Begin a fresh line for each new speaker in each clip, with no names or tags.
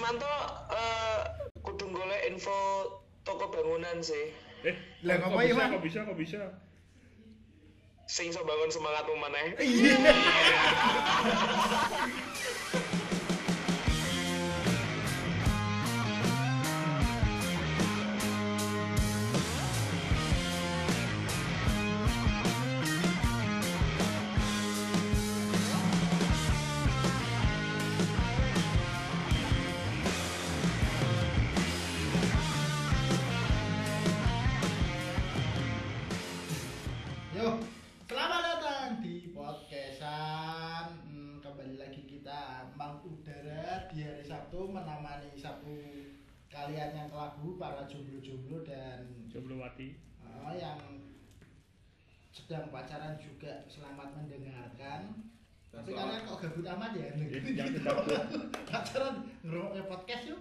Nanto eh kudu golek info toko bangunan sih.
Eh,
Lah, ya,
kok-
ngomongin,
kok bisa,
Mas?
kok bisa, kok bisa.
Sing iso bangun semangatmu maneh.
Yo, selamat datang di podcastan. Hmm, kembali lagi kita Mang Udara di hari Sabtu menemani Sabtu kalian yang kelabu para jomblo-jomblo dan
Jomblo mati.
eh, yang sedang pacaran juga selamat mendengarkan. Tapi kalian kok gabut amat ya?
Iya, jangan gabut.
pacaran ngerokoknya podcast yuk.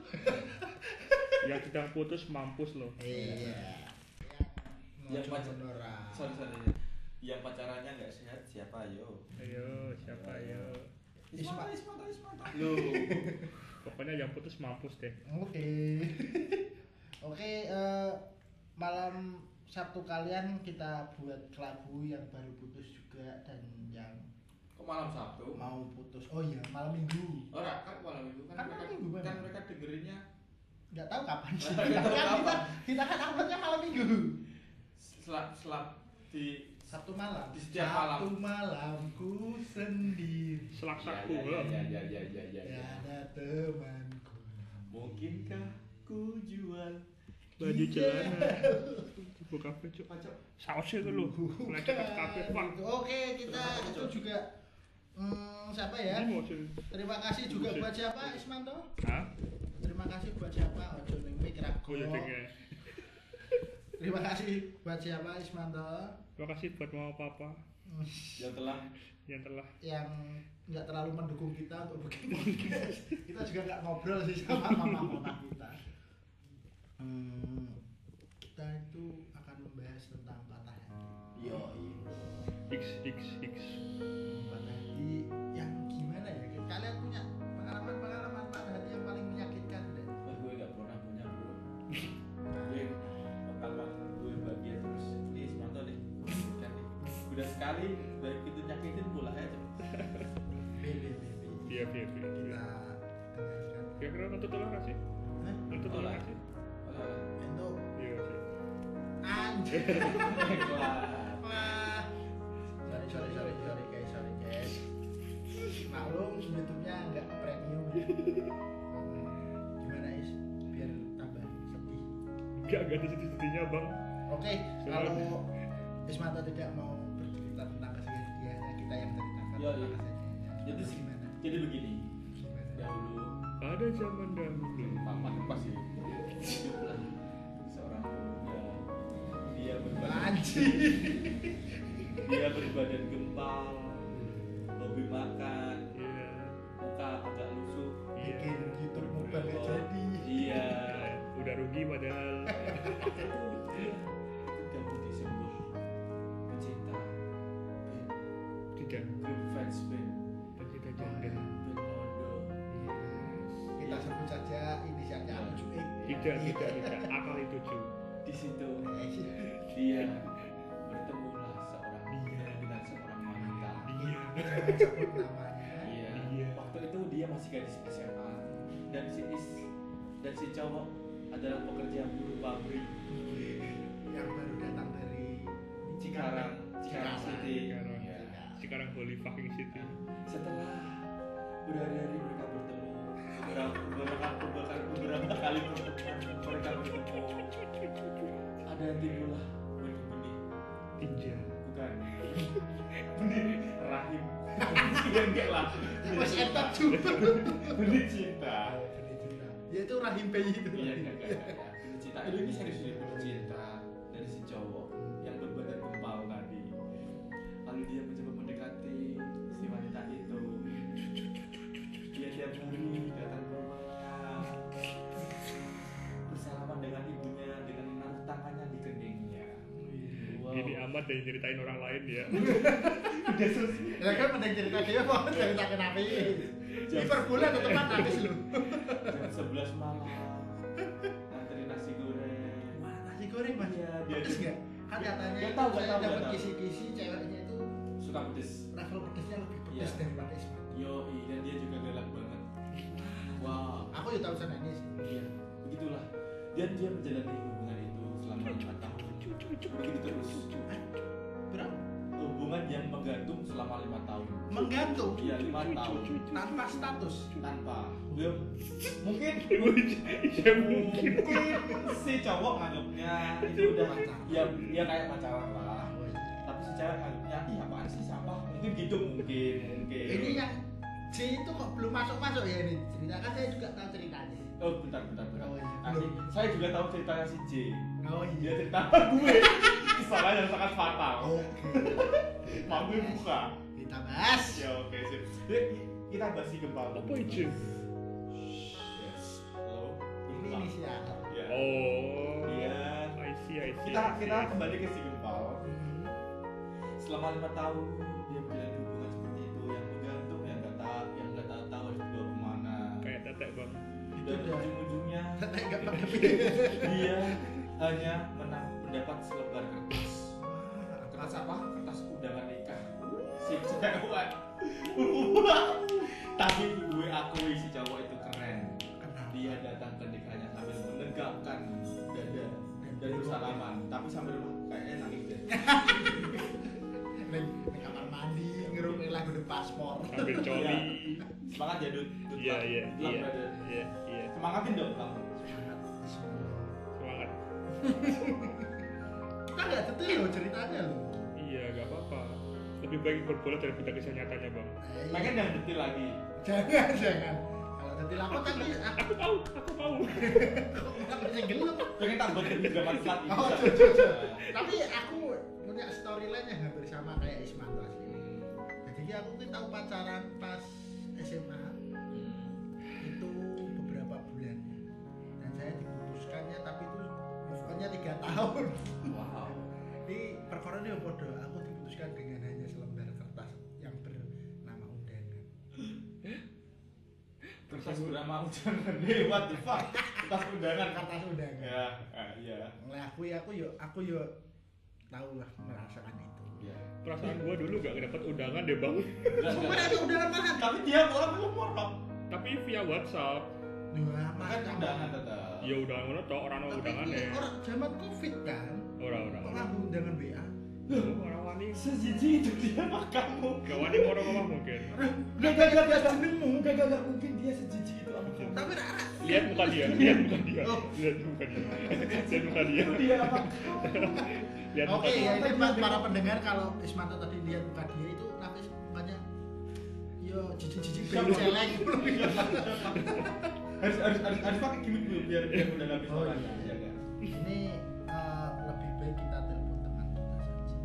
Ya, Yang sedang putus mampus loh.
Iya.
Yang
Yang
pacar-
beneran.
sorry sorry yang pacarannya nggak sehat siapa yo
Ayo, siapa ayo?
Isma.
Ismata Ismata Ismata lu
Pokoknya yang putus mampus deh.
Oke. Oke, eh, malam Sabtu kalian kita buat kelabu yang baru putus juga dan yang
kok malam Sabtu
mau putus. Oh iya, malam Minggu.
Ora kan malam minggu kan,
Kan
mereka
malam minggu, Bang.
kan mereka dengerinnya
Nggak tahu kapan sih. Kita kan kita, kita kan uploadnya malam Minggu.
selap selap di
Sabtu malam.
Di setiap
Sabtu malamku sendiri.
Selak-sakku
ya,
loh.
ya, ya, ya, ya, ya, ya.
Gak ada temanku.
mungkinkah ku jual
Baju celana. Buka baju.
pacok
Sausnya itu loh. Lecet kabeh, Pak.
Gitu. Oke, kita itu juga hmm, siapa ya?
Ini mau sih.
Terima kasih juga buat siapa Ismanto?
Hah?
Terima kasih buat siapa Ojo ning mic rago.
Gue ya.
Terima kasih buat siapa Ismanto
Terima kasih buat mama papa
Hmm,
yang Ya, telah
yang telah
yang nggak terlalu mendukung kita untuk bikin podcast. kita juga nggak ngobrol sih sama mama mama kita. Hmm, kita itu akan membahas tentang patah hati.
yo iya.
X X X.
Patah hati yang gimana ya? Kalian punya pengalaman-pengalaman patah hati yang paling menyakitkan deh.
Wah, Kan gue nggak pernah punya bro gue pertama gue bahagia terus ini Ismanto nih kan nih udah sekali udah gitu nyakitin pula aja
Pilih, pilih.
Iya iya iya.
Kita dengarkan. Eh,
Kira-kira nuntut tulang nggak sih?
Hah?
Nuntut tulang nggak sih?
Wah,
Itu
Iya sih.
anjir.
wah.
Wah. Sorry, sorry, sorry, sorry guys, sorry guys. Maklum YouTube-nya nggak premium. ya. Gimana is? Biar tambah sedih.
Enggak enggak ada sedih-sedihnya bang.
Oke,
Silakan.
kalau Ismata tidak mau bercerita tentang kesedihannya, kita yang ceritakan
Iya,
tentang
iya.
kesedihannya.
Jadi sih.
gimana?
jadi begini
Gimana?
dahulu
Pada zaman dahulu.
mama pas ya hiduplah seorang pemuda dia
Ya.
berbadan
Anjir.
dia berbadan gempal hobi makan
Iya.
muka agak lusuh
Iya.
Bikin gitu, YouTube mubah nggak
Oh,
jadi.
iya
Ya, Udah rugi padahal.
tidak putih sebuah pecinta band
Tidak.
band fans band
Pencinta janda.
band Londo
Iya, Kita sebut saja inisialnya Aluju X.
Tidak tidak tidak. Akal itu tujuh.
di situ
Eh,
dia bertemulah seorang dengan seorang wanita
Iya.
Jangan sebut namanya.
Iya.
Iya.
Waktu itu dia masih gadis SMA dan si is dan si cowok adalah pekerja buruh pabrik
yang baru datang dari
Cikarang, Cikarang
Cikarang.
City.
Cikarang.
Iya.
Sekarang holy fucking ya. city.
Setelah berhari-hari mereka bertemu beberapa beberapa beberapa, beberapa kali bertemu, mereka bertemu ada timbullah benih-benih
Tinja.
bukan benih rahim enggak lah
Mas Eta juga.
benih cinta
Ya itu rahim bayi itu.
Iya, iya, iya, iya. cinta Eh, ini serius nih punya cinta dari si cowok yang berbadan gempal tadi lalu dia mencoba mendekati si wanita itu dia tiap hari datang ke rumahnya bersalaman dengan ibunya dengan menaruh tangannya di keningnya wow
Gini amat dari ceritain orang lain ya.
udah sus
Ya kan mending cerita dia mau cerita kenapa ini. Di perbulan tetep kan habis lu.
jam 11 Iya,
pedes nggak? Kan katanya
Nggak Iya,
itu saya
tahu, nggak tahu,
dapat
nggak tahu.
kisi-kisi ceweknya itu
suka pedes
level pedesnya lebih pedes
Iya.
daripada Ismail.
yo dan dia juga galak banget wow
Aku ya tahu sana ini sih.
Iya, begitulah. Dan dia menjalani hubungan itu selama empat tahun. Begitu terus.
Berapa?
Hubungan yang menggantung selama lima tahun.
Menggantung
Iya, lima tahun
tanpa status.
tanpa. Ya, mungkin
ya,
Iya mungkin.
mungkin si cowok nganggapnya itu udah
Pacaran.
ya ya kayak pacaran lah. Tapi si cewek nganggapnya ih apaan sih sampah. Mungkin gitu mungkin mungkin.
Ini yang C itu kok belum masuk-masuk ya ini ceritakan saya juga tahu ceritanya.
Oh bentar bentar bentar.
Oh, iya.
Nanti, saya juga tahu ceritanya si J.
Oh
Dia cerita sama gue. Kesalahan yang sangat fatal.
Oke.
Mau gue buka.
Kita bahas.
Ya oke sip. Jadi, kita bahas si gempa.
Apa itu?
Yes. Halo.
Ini
Gempa.
inisiator.
Ya.
Oh.
Iya.
I see, I see.
Kita
I see,
kita
I see.
kembali ke si gempa. Selama lima tahun dia menjalin hubungan seperti itu yang menggantung yang nggak tahu yang nggak tahu tahu harus dibawa kemana.
kayak tetek bang.
Dan
Udah.
ujung-ujungnya
Tapi nggak pakai pikir.
dia hanya menang mendapat selebar kertas. Kertas apa? Kertas undangan nikah. Si cewek. Tapi gue akui si cowok itu keren.
Kenapa?
dia datang ke nikahnya sambil menegakkan dada dan bersalaman tapi sambil kayaknya nangis deh
Neng neng kamar mandi ngerungin lagu The Passport.
Sambil coli.
semangat ya Dut Dut,
Iya,
Bang.
iya,
Bang,
iya,
brother.
iya, iya.
semangatin dong bang
Semangat.
Kita nggak detail loh ceritanya loh.
Iya, gak apa-apa. Lebih baik berbola daripada kisah nyatanya bang.
pengen yang detil lagi
Jangan jangan. Kalau detail aku kan ini aku
Aku tahu, aku tahu.
kan bisa gelap.
pengen tambah dari zaman saat ini
Oh, jujur, jujur. Tapi aku punya storyline yang hampir sama kayak Ismanto asli. Jadi aku kan tahu pacaran pas SMA
iya.
itu beberapa bulan dan saya diputuskannya tapi itu move on-nya tiga tahun.
wow
Ini perkara ini podo. Aku diputuskan dengan hanya selembar kertas yang bernama undangan.
kertas bernama undangan hey what the fuck kertas undangan
Kertas undangan.
ya eh, iya
Ngelakuin aku yo aku yo tahu lah merasakan itu.
Iya.
Perasaan gua dulu gak dapat undangan deh bang.
Enggak,
Sumpah
enggak.
ada undangan mana?
tapi dia orang pelumur bang
Tapi via WhatsApp,
Dua
kan undangan tetap
ya udah ngono toh orang mau
Tapi iya.
undangan
ini
ya.
orang zaman covid kan.
Orang orang.
Kok aku kan, undangan WA?
Orang wani.
sejiji itu dia sama kamu
Gak wani orang ngomong mungkin.
Gak, gak, gak, gak, jenengmu Gak, gak, gak, mungkin dia sejijik itu sama kamu
Tapi rara.
Lihat muka dia, lihat muka dia,
Oh.
lihat muka dia, lihat muka dia,
Itu dia sama
lihat muka
Oke,
dia.
ya ini buat para pendengar kalau Ismanto tadi lihat muka dia itu nanti mukanya yo jijik-jijik
Siapa?
pengen celeng.
Harus, harus, harus, harus pakai gimmick dulu biar biar udah gak bisa
Oh,
lagi
iya.
Iya, kan?
Ini eh, lebih baik kita telepon teman kita saja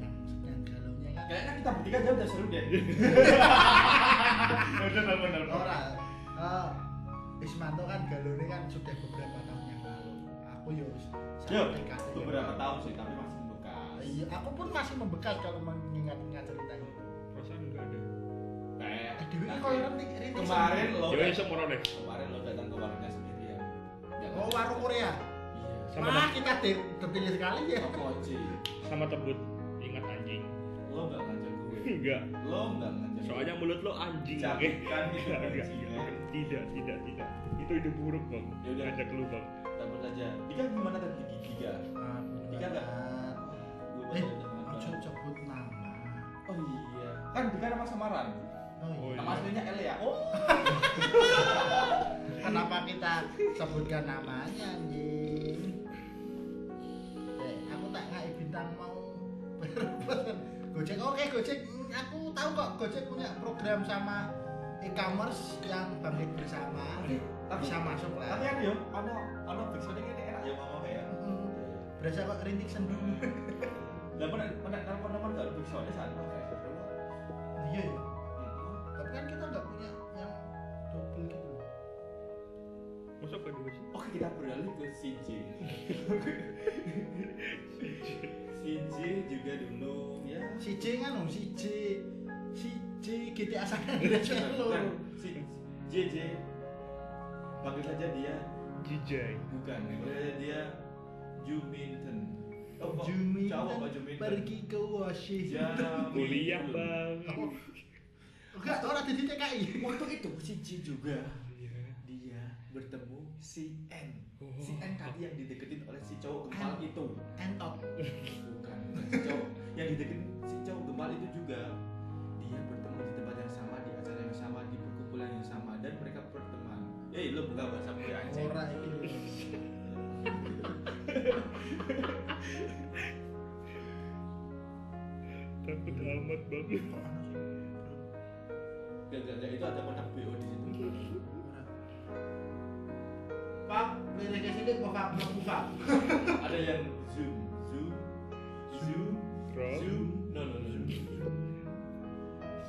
yang sedang galau nya kan.
Kayaknya kita bertiga jauh udah seru deh Udah, udah, udah, udah.
Ora, eh, Ismanto kan galau ini kan sudah beberapa tahun yang lalu. Aku yo
Yo,
sangat dekat dengan-
beberapa tahun sih, tapi masih membekas
Iya, aku pun masih membekas kalau mengingat-ingat cerita ini.
Perasaan gak ada.
Kayak-
Eh, Dewi ini kau yang nanti
Kemarin lo
Iya,
eh,
Yo esok mau deh.
Kemarin lo datang ke warungnya sendirian Ya,
Oh,
kan?
warung Korea.
Iya
Sama
Wah, kita de- detail sekali ya.
Apa Iya, Oci?
sama tebut. Ingat anjing.
Lo gak ngajak gue
Enggak.
Lo gak ngajak gue
Soalnya mulut lo anjing.
Jangan,
oke?
kan?
Enggak, enggak, enggak. Tidak, tidak, tidak. Itu ide buruk bang.
Yaudah.
Ada lu bang.
Tambah saja. Dika gimana tadi gigi Dika? Dika nggak? Gue
Eh,
baca dengan
ojo
banget.
sebut nama.
Oh iya. Kan Dika nama samaran.
Oh,
Oh,
iya.
Nama aslinya L ya. Oh.
Kenapa kita sebutkan namanya anjing? Eh, aku tak ngai bintang mau berpesan. Gojek oke Gojek. Hmm, Aku tahu kok Gojek punya program sama e-commerce yang bangkit bersama.
Tapi-
Bisa masuk
Tapi
lah.
kan yo, ano ano fixnya ini enak ya mama ya.
Hmm, Berasa kok rintik sendiri.
Lah pernah pernah telepon teman gak fixnya saat Mm-hmm. apa kayak.
Iya ya. Tapi kan kita nggak punya yang double gitu.
Masa gak dulu sih?
Oke kita beralih ke CJ. CJ juga dulu ya.
Si J kan om, si J si J GTA San Andreas kan lo.
Bukan, Si JJ. Panggil saja dia
Jijai.
Bukan, boleh dia Juminton. Oh, kok
Juminten
cowok Pak Juminten?
pergi ke Washington.
Jamin.
kuliah bang
Oh. Enggak, orang jadi TKI.
Waktu itu si Ji juga
Iya.
dia bertemu si N.
Oh.
Si N tadi yang dideketin oleh si cowok gemal
N.
itu.
Entok.
Bukan, bukan si cowok yang dideketin si cowok gemal itu juga dia bertemu di tempat yang sama, di acara yang sama, di perkumpulan yang sama dan mereka berteman. Eh, lo buka bahasa gue anjing.
Ora iki.
takut amat bang
Gak, gak, gak, itu ada kotak BO di situ.
Pak, mereka sini kok Pak Pak, Pak.
ada yang zoom, zoom, zoom,
Bro.
zoom, no no no. no.
zoom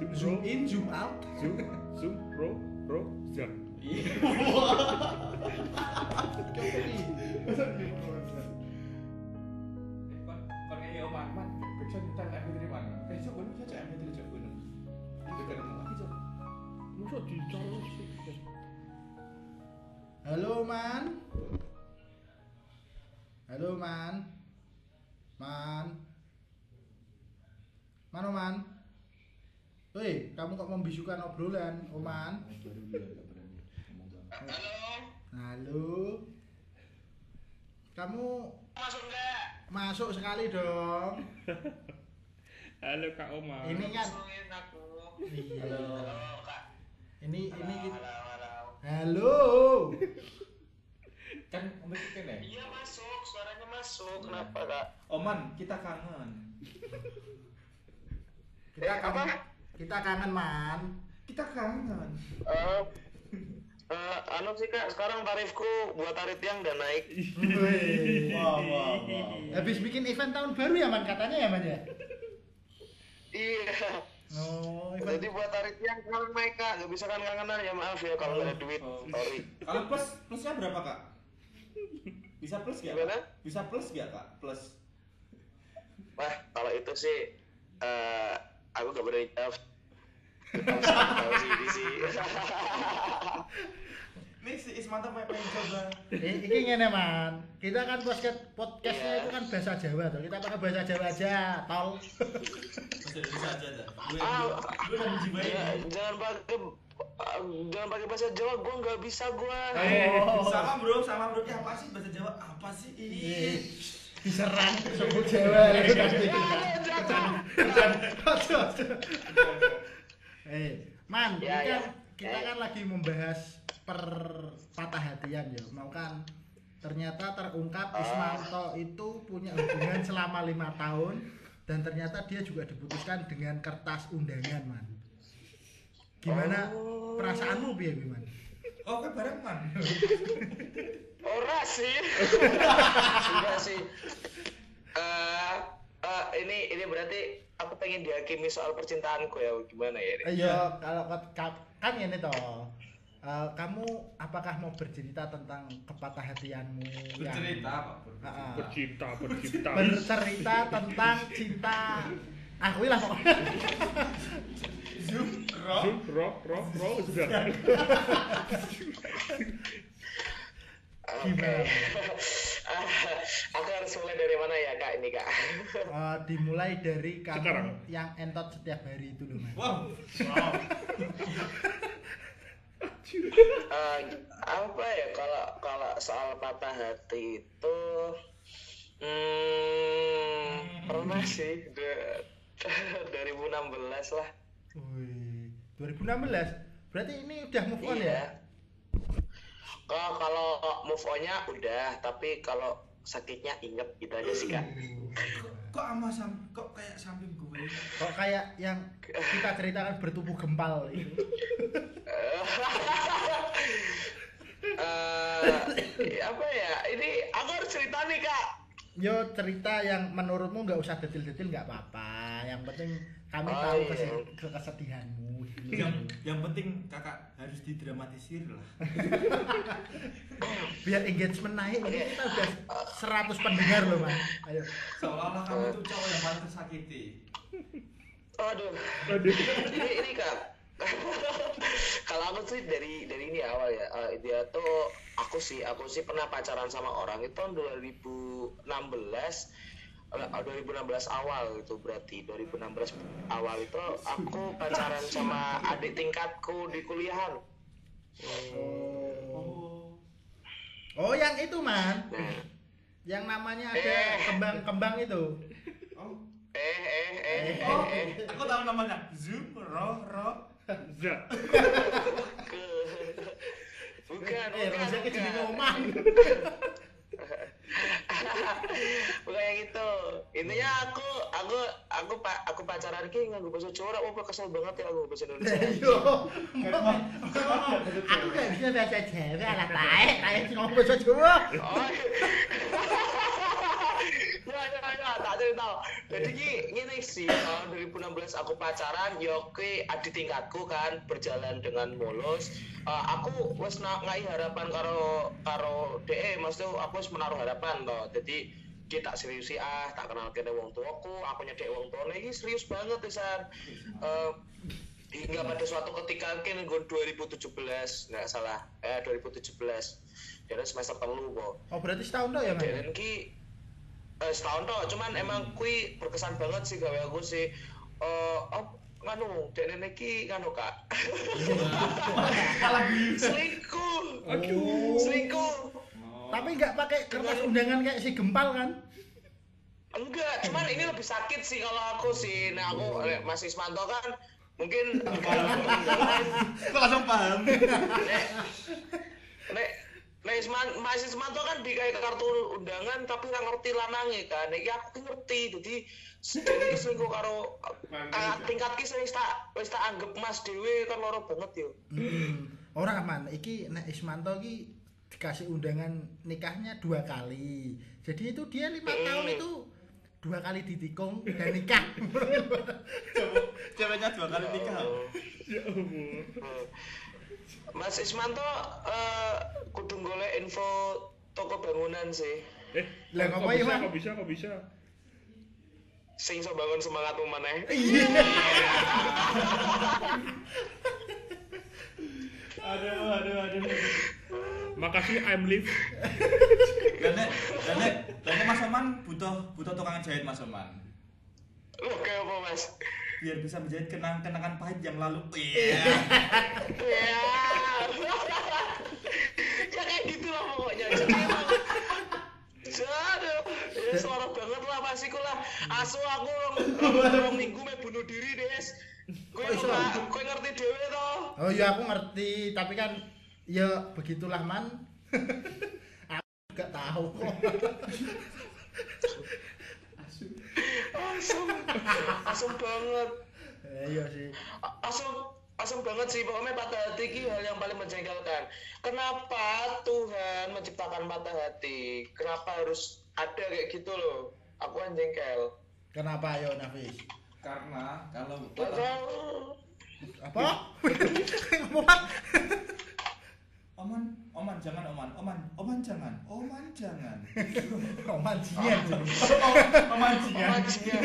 bro
Zoom in, zoom out.
zoom zoom bro bro zoom
Iya.
Kau ini.
Pakai Om Ahmad, besok kita MP3 mana? Besok gue bisa cek MP3 cek gue. Itu kan mau lagi cok.
masa dicari
Halo man. Halo man. Man. Mana man? Woi, kamu kok membisukan obrolan, Oh, Oman?
Baru dia gak berani ngomong banget.
Halo,
Halo. Kamu
masuk enggak?
masuk sekali dong.
halo kak Omar
Ini kan.
Masukin aku.
Iya.
Halo, Kak.
Ini ini gitu.
Halo,
kita-
halo, halo.
Halo.
Kan mungkin ya.
Iya masuk, suaranya masuk. Kenapa, Kak?
Oman, kita kangen.
Kita
Eh, apa?
kangen, kita kangen man.
Kita kangen.
Eh, eh, anu sih kak, sekarang tarifku buat tarif yang udah naik
Wih.
Wah, wah, wah.
Habis bikin event tahun baru ya man katanya ya man ya.
Iya
No,
Jadi
Oh, event.
buat tarif yang sekarang naik kak, nggak bisa kan kangenan ya maaf ya kalau nggak ada duit
Oh.
Sorry
Kalau plus plusnya berapa kak? Bisa plus gak?
Gimana?
Bisa plus gak kak? Plus.
Wah, kalau itu sih eh aku nggak berani jawab Tahu sih, ini sih.
Nih si Ismanto pengen pengen coba.
Eh, ini ngene man. Kita kan podcast podcastnya
Iya.
itu kan bahasa Jawa tuh. Kita pakai bahasa Jawa aja, tol.
Bisa bisa aja dah. Gue
Ah,
gue udah menjiwai.
jangan- jangan pakai eh, jangan pakai bahasa Jawa, gua nggak bisa gua.
Oh.
Sama bro, sama bro. Ya, apa sih bahasa Jawa? Apa sih?
Ih,
Ih.
Diserang sebut Jawa itu nanti.
Ya, ayo, jangan.
Ojo, ojo. Eh, man, ini
Ya, ya.
kan kita
Eh.
kan lagi membahas per patah hatian ya. Mau kan ternyata terungkap
Ah.
Ismanto itu punya hubungan selama lima tahun dan ternyata dia juga diputuskan dengan kertas undangan, man. Gimana
Oh.
perasaanmu piye, Wi, man?
Oh, kan barengan.
Ora sih. Enggak sih. Eh, eh, ini ini berarti aku pengen dihakimi soal percintaanku ya gimana ya ini?
Iya, kalau kat- ka- kan ini toh. Eh, kamu apakah mau bercerita tentang kepatah hatianmu? yang-
Bercerita Pak Bro.
Ah, ah.
bercinta bercinta
Bercerita tentang cinta. Aku lah pokoknya.
Zoom, rock.
zoom bro bro bro sudah
Oke.
Gimana?
Ah, aku harus mulai dari mana ya kak ini kak?
Eh, dimulai dari kamu
Sekarang.
yang entot setiap hari itu loh, Mas.
Wow. Wow.
Eh, apa ya kalau kalau soal patah hati itu hmm, pernah sih de- 2016 lah.
Wih, 2016. Berarti ini udah move on
Iya.
ya?
Kalau kalau move on-nya udah, tapi kalau sakitnya inget gitu aja sih kak.
Kok sama sam kok kayak samping gue?
Kok kayak yang kita ceritakan bertubuh gempal itu.
Eh, apa ya? Ini aku harus cerita nih kak.
Yo cerita yang menurutmu nggak usah detail-detail nggak apa-apa. Yang penting kami
Oh,
tahu
iya.
kese- ke- kesedihanmu. gitu.
Yang yang penting kakak harus didramatisir lah.
Biar engagement naik. Ini kita udah 100 pendengar loh, Mas. Ayo.
Seolah-olah kamu tuh cowok yang paling tersakiti.
Aduh,
aduh
ini ini kak. kalau aku sih dari dari ini awal ya. Eh, dia tuh aku sih aku sih pernah pacaran sama orang itu tahun 2016. eh, 2016 awal itu berarti 2016 awal itu aku pacaran sama adik tingkatku di kuliahan
Oh.
oh
oh yang itu man
nah
yang namanya ada kembang-kembang itu
oh
eh eh eh eh,
oh
eh.
aku tahu namanya zoom roh roh
Za.
Ke- bukan
eh
bukan
rasanya jadi
bukan
ngomong
bukan yang itu gitu. intinya aku aku aku pak aku pacaran ki nggak bahasa corak apa kesel banget ya aku bahasa Indonesia
yo aku gak bisa bahasa Jawa lah baik kayak si ngomong bahasa Jawa
Oh. ya ya ya tak cerita jadi ki gini sih tahun 2016 aku pacaran yoke adik tingkatku kan berjalan dengan mulus Eh, aku wes na- ngai harapan karo karo de maksudnya aku wes menaruh harapan toh jadi ki tak seriusi ah tak kenal kene wong tuaku aku nyedek wong tuane iki serius banget pisan Eh, hingga pada suatu ketika mungkin nggon 2017 nggak salah eh 2017 jadi Ya, semester telu kok
oh berarti setahun dong ya man
Deren ki eh, setahun toh, cuman emang kui berkesan banget sih gawe aku sih. Eh, op nganu, Deren iki nganu Kak.
kalah biu
selingkuh.
Oh.
Selingkuh.
tapi nggak pakai kertas undangan kayak si gempal kan
Enggak, cuman ini lebih sakit sih kalau aku sih. Nah, aku eh, Mas Ismanto kan mungkin
aku langsung paham
Nek, nek, nek Isman, Mas Ismanto kan di kayak kartu undangan tapi nggak ngerti lanangnya kan. Nek iki aku ki ngerti, jadi sedih selingkuh karo uh, tingkat ki sering tak wis tak anggap Mas Dewi kan loro banget yo.
Hmm. Ora man, iki nek Ismanto iki dikasih undangan nikahnya dua kali. Jadi itu dia lima
Hmm.
tahun itu dua kali ditikung dan nikah.
Coba- ceweknya dua kali nikah
Ya Allah.
Hmm. Mas Ismanto eh kudu golek info toko bangunan sih.
Eh,
Lah,
kok- kok
ngapain,
bisa,
Bang?
kok bisa, kok bisa.
Sing iso bangun semangatmu maneh.
aduh aduh aduh
Makasih I'm live.
dan nek dan nek dan nek mas Oman butuh butuh tukang jahit mas Oman
Loh kayak apa Mas?
biar bisa menjahit kenang kenangan pahit yang lalu iya
Ya. ya kayak gitu lah pokoknya. Jadu, ya suara banget lah pasiku lah. Asu aku orang orang minggu me bunuh diri des. Kue
Kok iso?
kue ngerti dewe toh.
Oh iya aku ngerti, tapi kan ya begitulah man. aku juga tahu kok.
Asem, asem banget.
Eh, iya sih.
A- Asem, asem banget sih pokoknya patah hati ini hal yang paling menjengkelkan. Kenapa Tuhan menciptakan patah hati? Kenapa harus ada kayak gitu loh? Aku kan jengkel.
Kenapa yo Nafis?
karena kalau
Gak tahu.
Apa? Ngomong apa?
Oman, Oman jangan Oman, Oman, Oman jangan, Oman jangan.
Oman jangan.
Oman
Iya.
jangan.
Majinya.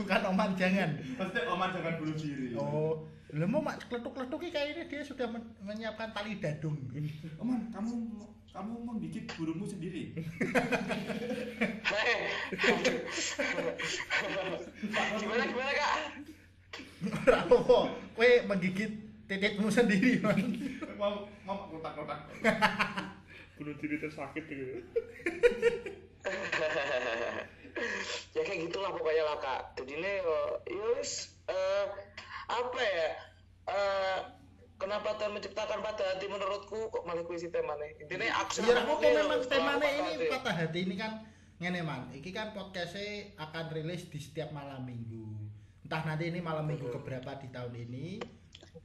Bukan oman jangan.
Pasti Oman jangan bunuh diri.
Oh, lu mau mak kletuk-kletuk kayaknya dia sudah men- menyiapkan tali dadung.
Oman, kamu kamu menggigit burungmu sendiri.
Eh. gimana gimana kak?
Ora apa, kowe menggigit titikmu sendiri, Man.
Mau mau kotak-kotak.
Bunuh diri tersakit gitu.
ya kayak gitulah pokoknya lah kak. Jadi ini oh, yus eh, apa ya? Eh, kenapa Tuhan menciptakan patah hati menurutku kok malah kuisi temanya intinya aku
Iya, ora
senang
apa
banget
memang
soal
temane
patah
ini
hati.
patah hati ini kan ngene, Man. Iki kan podcastnya akan rilis di setiap malam Minggu. Entah nanti ini malam Minggu keberapa di tahun ini.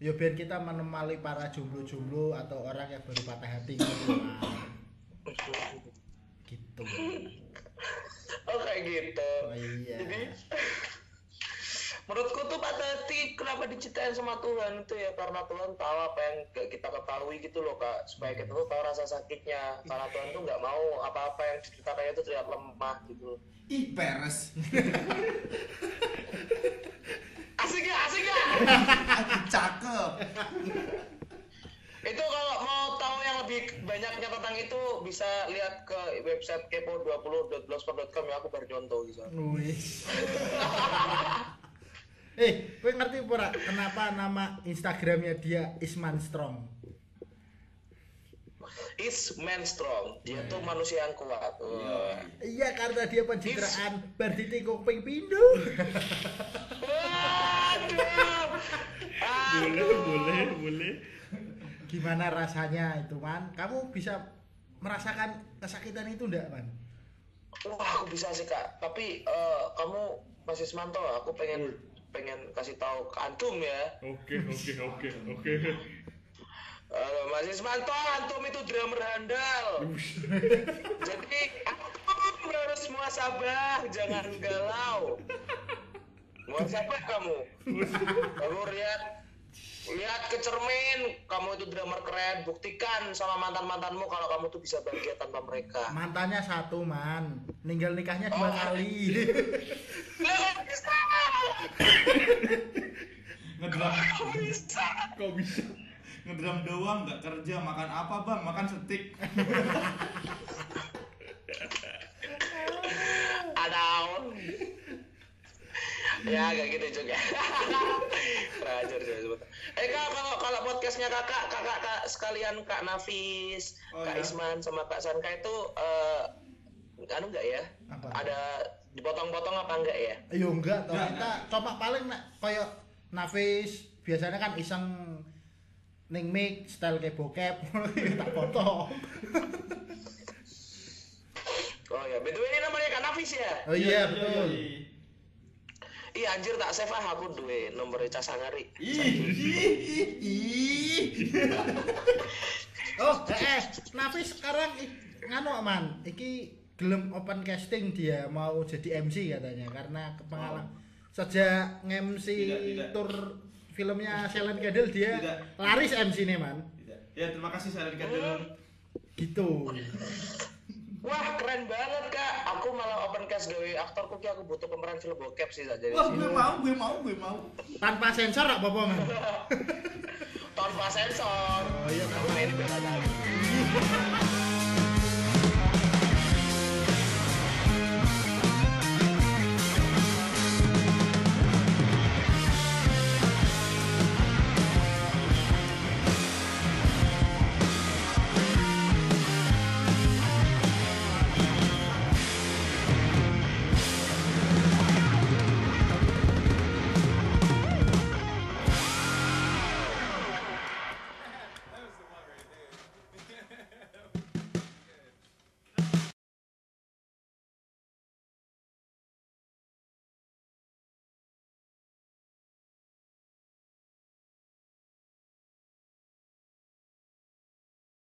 Ya biar kita menemali para jomblo-jomblo atau orang yang baru patah hati gitu, Man. Gitu.
oh kayak gitu
Oh iya.
Jadi menurutku tuh patah hati kenapa diciptain sama Tuhan itu ya karena Tuhan tahu apa yang nggak kita ketahui gitu loh kak supaya kita tuh tahu rasa sakitnya karena Tuhan tuh nggak mau apa-apa yang diceritakannya itu terlihat lemah gitu
Ih, peres.
asik gak asik gak
Cakep.
itu kalau mau tahu yang lebih lebih banyaknya tentang itu bisa lihat ke website kepo20.blogspot.com ya aku baru contoh gitu.
Wis. eh, kowe ngerti apa ora kenapa nama Instagramnya dia Isman Strong?
Is man strong. Dia tuh manusia yang kuat. Wah.
Iya karena dia pencitraan berdiri kuping pindu.
Waduh.
boleh
Aduh.
boleh boleh
Gimana rasanya itu, Man? Kamu bisa merasakan kesakitan itu enggak, Man?
Wah, aku bisa sih kak. Tapi eh, kamu masih semantau. Aku pengen pengen kasih tahu ke antum ya.
oke oke oke oke
Eh, masih semantau. Antum itu drummer handal. Jadi antum harus muasabah, jangan galau. Muasabah kamu. Kamu lihat lihat ke cermin, kamu itu drummer keren. Buktikan sama mantan mantanmu kalau kamu tuh bisa bahagia tanpa mereka.
Mantannya satu, Man. Ninggal nikahnya
Oh.
dua kali.
Lu bisa,
ngedram
Lu bisa.
kok bisa
ngedram doang nggak kerja makan apa bang makan setik
Adau. ya kayak gitu juga. Rajar juga. Eh kak kalau kalau podcastnya kakak kakak kak sekalian kak Nafis,
Oh,
kak
iya.
Isman sama kak Sanka itu eh anu enggak ya?
Apa?
Ada dipotong-potong apa enggak ya?
Yo enggak toh.
Enggak,
Kita coba paling nek koyo Nafis biasanya kan iseng ning mic style kayak bokep tak foto.
Oh ya, btw ini namanya kak Nafis ya?
Oh iya
Yoi,
betul.
yoi.
Iya anjir tak save ah aku duwe nomornya Casangari.
ih ih ih ih
Oh, eh, eh Nafis sekarang i- nganu aman. Iki gelem open casting dia mau jadi MC katanya karena kepengalaman sejak nge-MC
Tidak, tidak.
tur filmnya Silent Candle dia
Tidak.
laris MC nih man
Tidak. ya terima kasih saran kadel
gitu
Wah keren banget kak, aku malah open cast gawe aktor kuki aku butuh pemeran film bokep sih saja.
wah gue mau gue mau gue mau
tanpa sensor gak apa-apa man
Nah, tanpa sensor. Oh iya, ini beda lagi.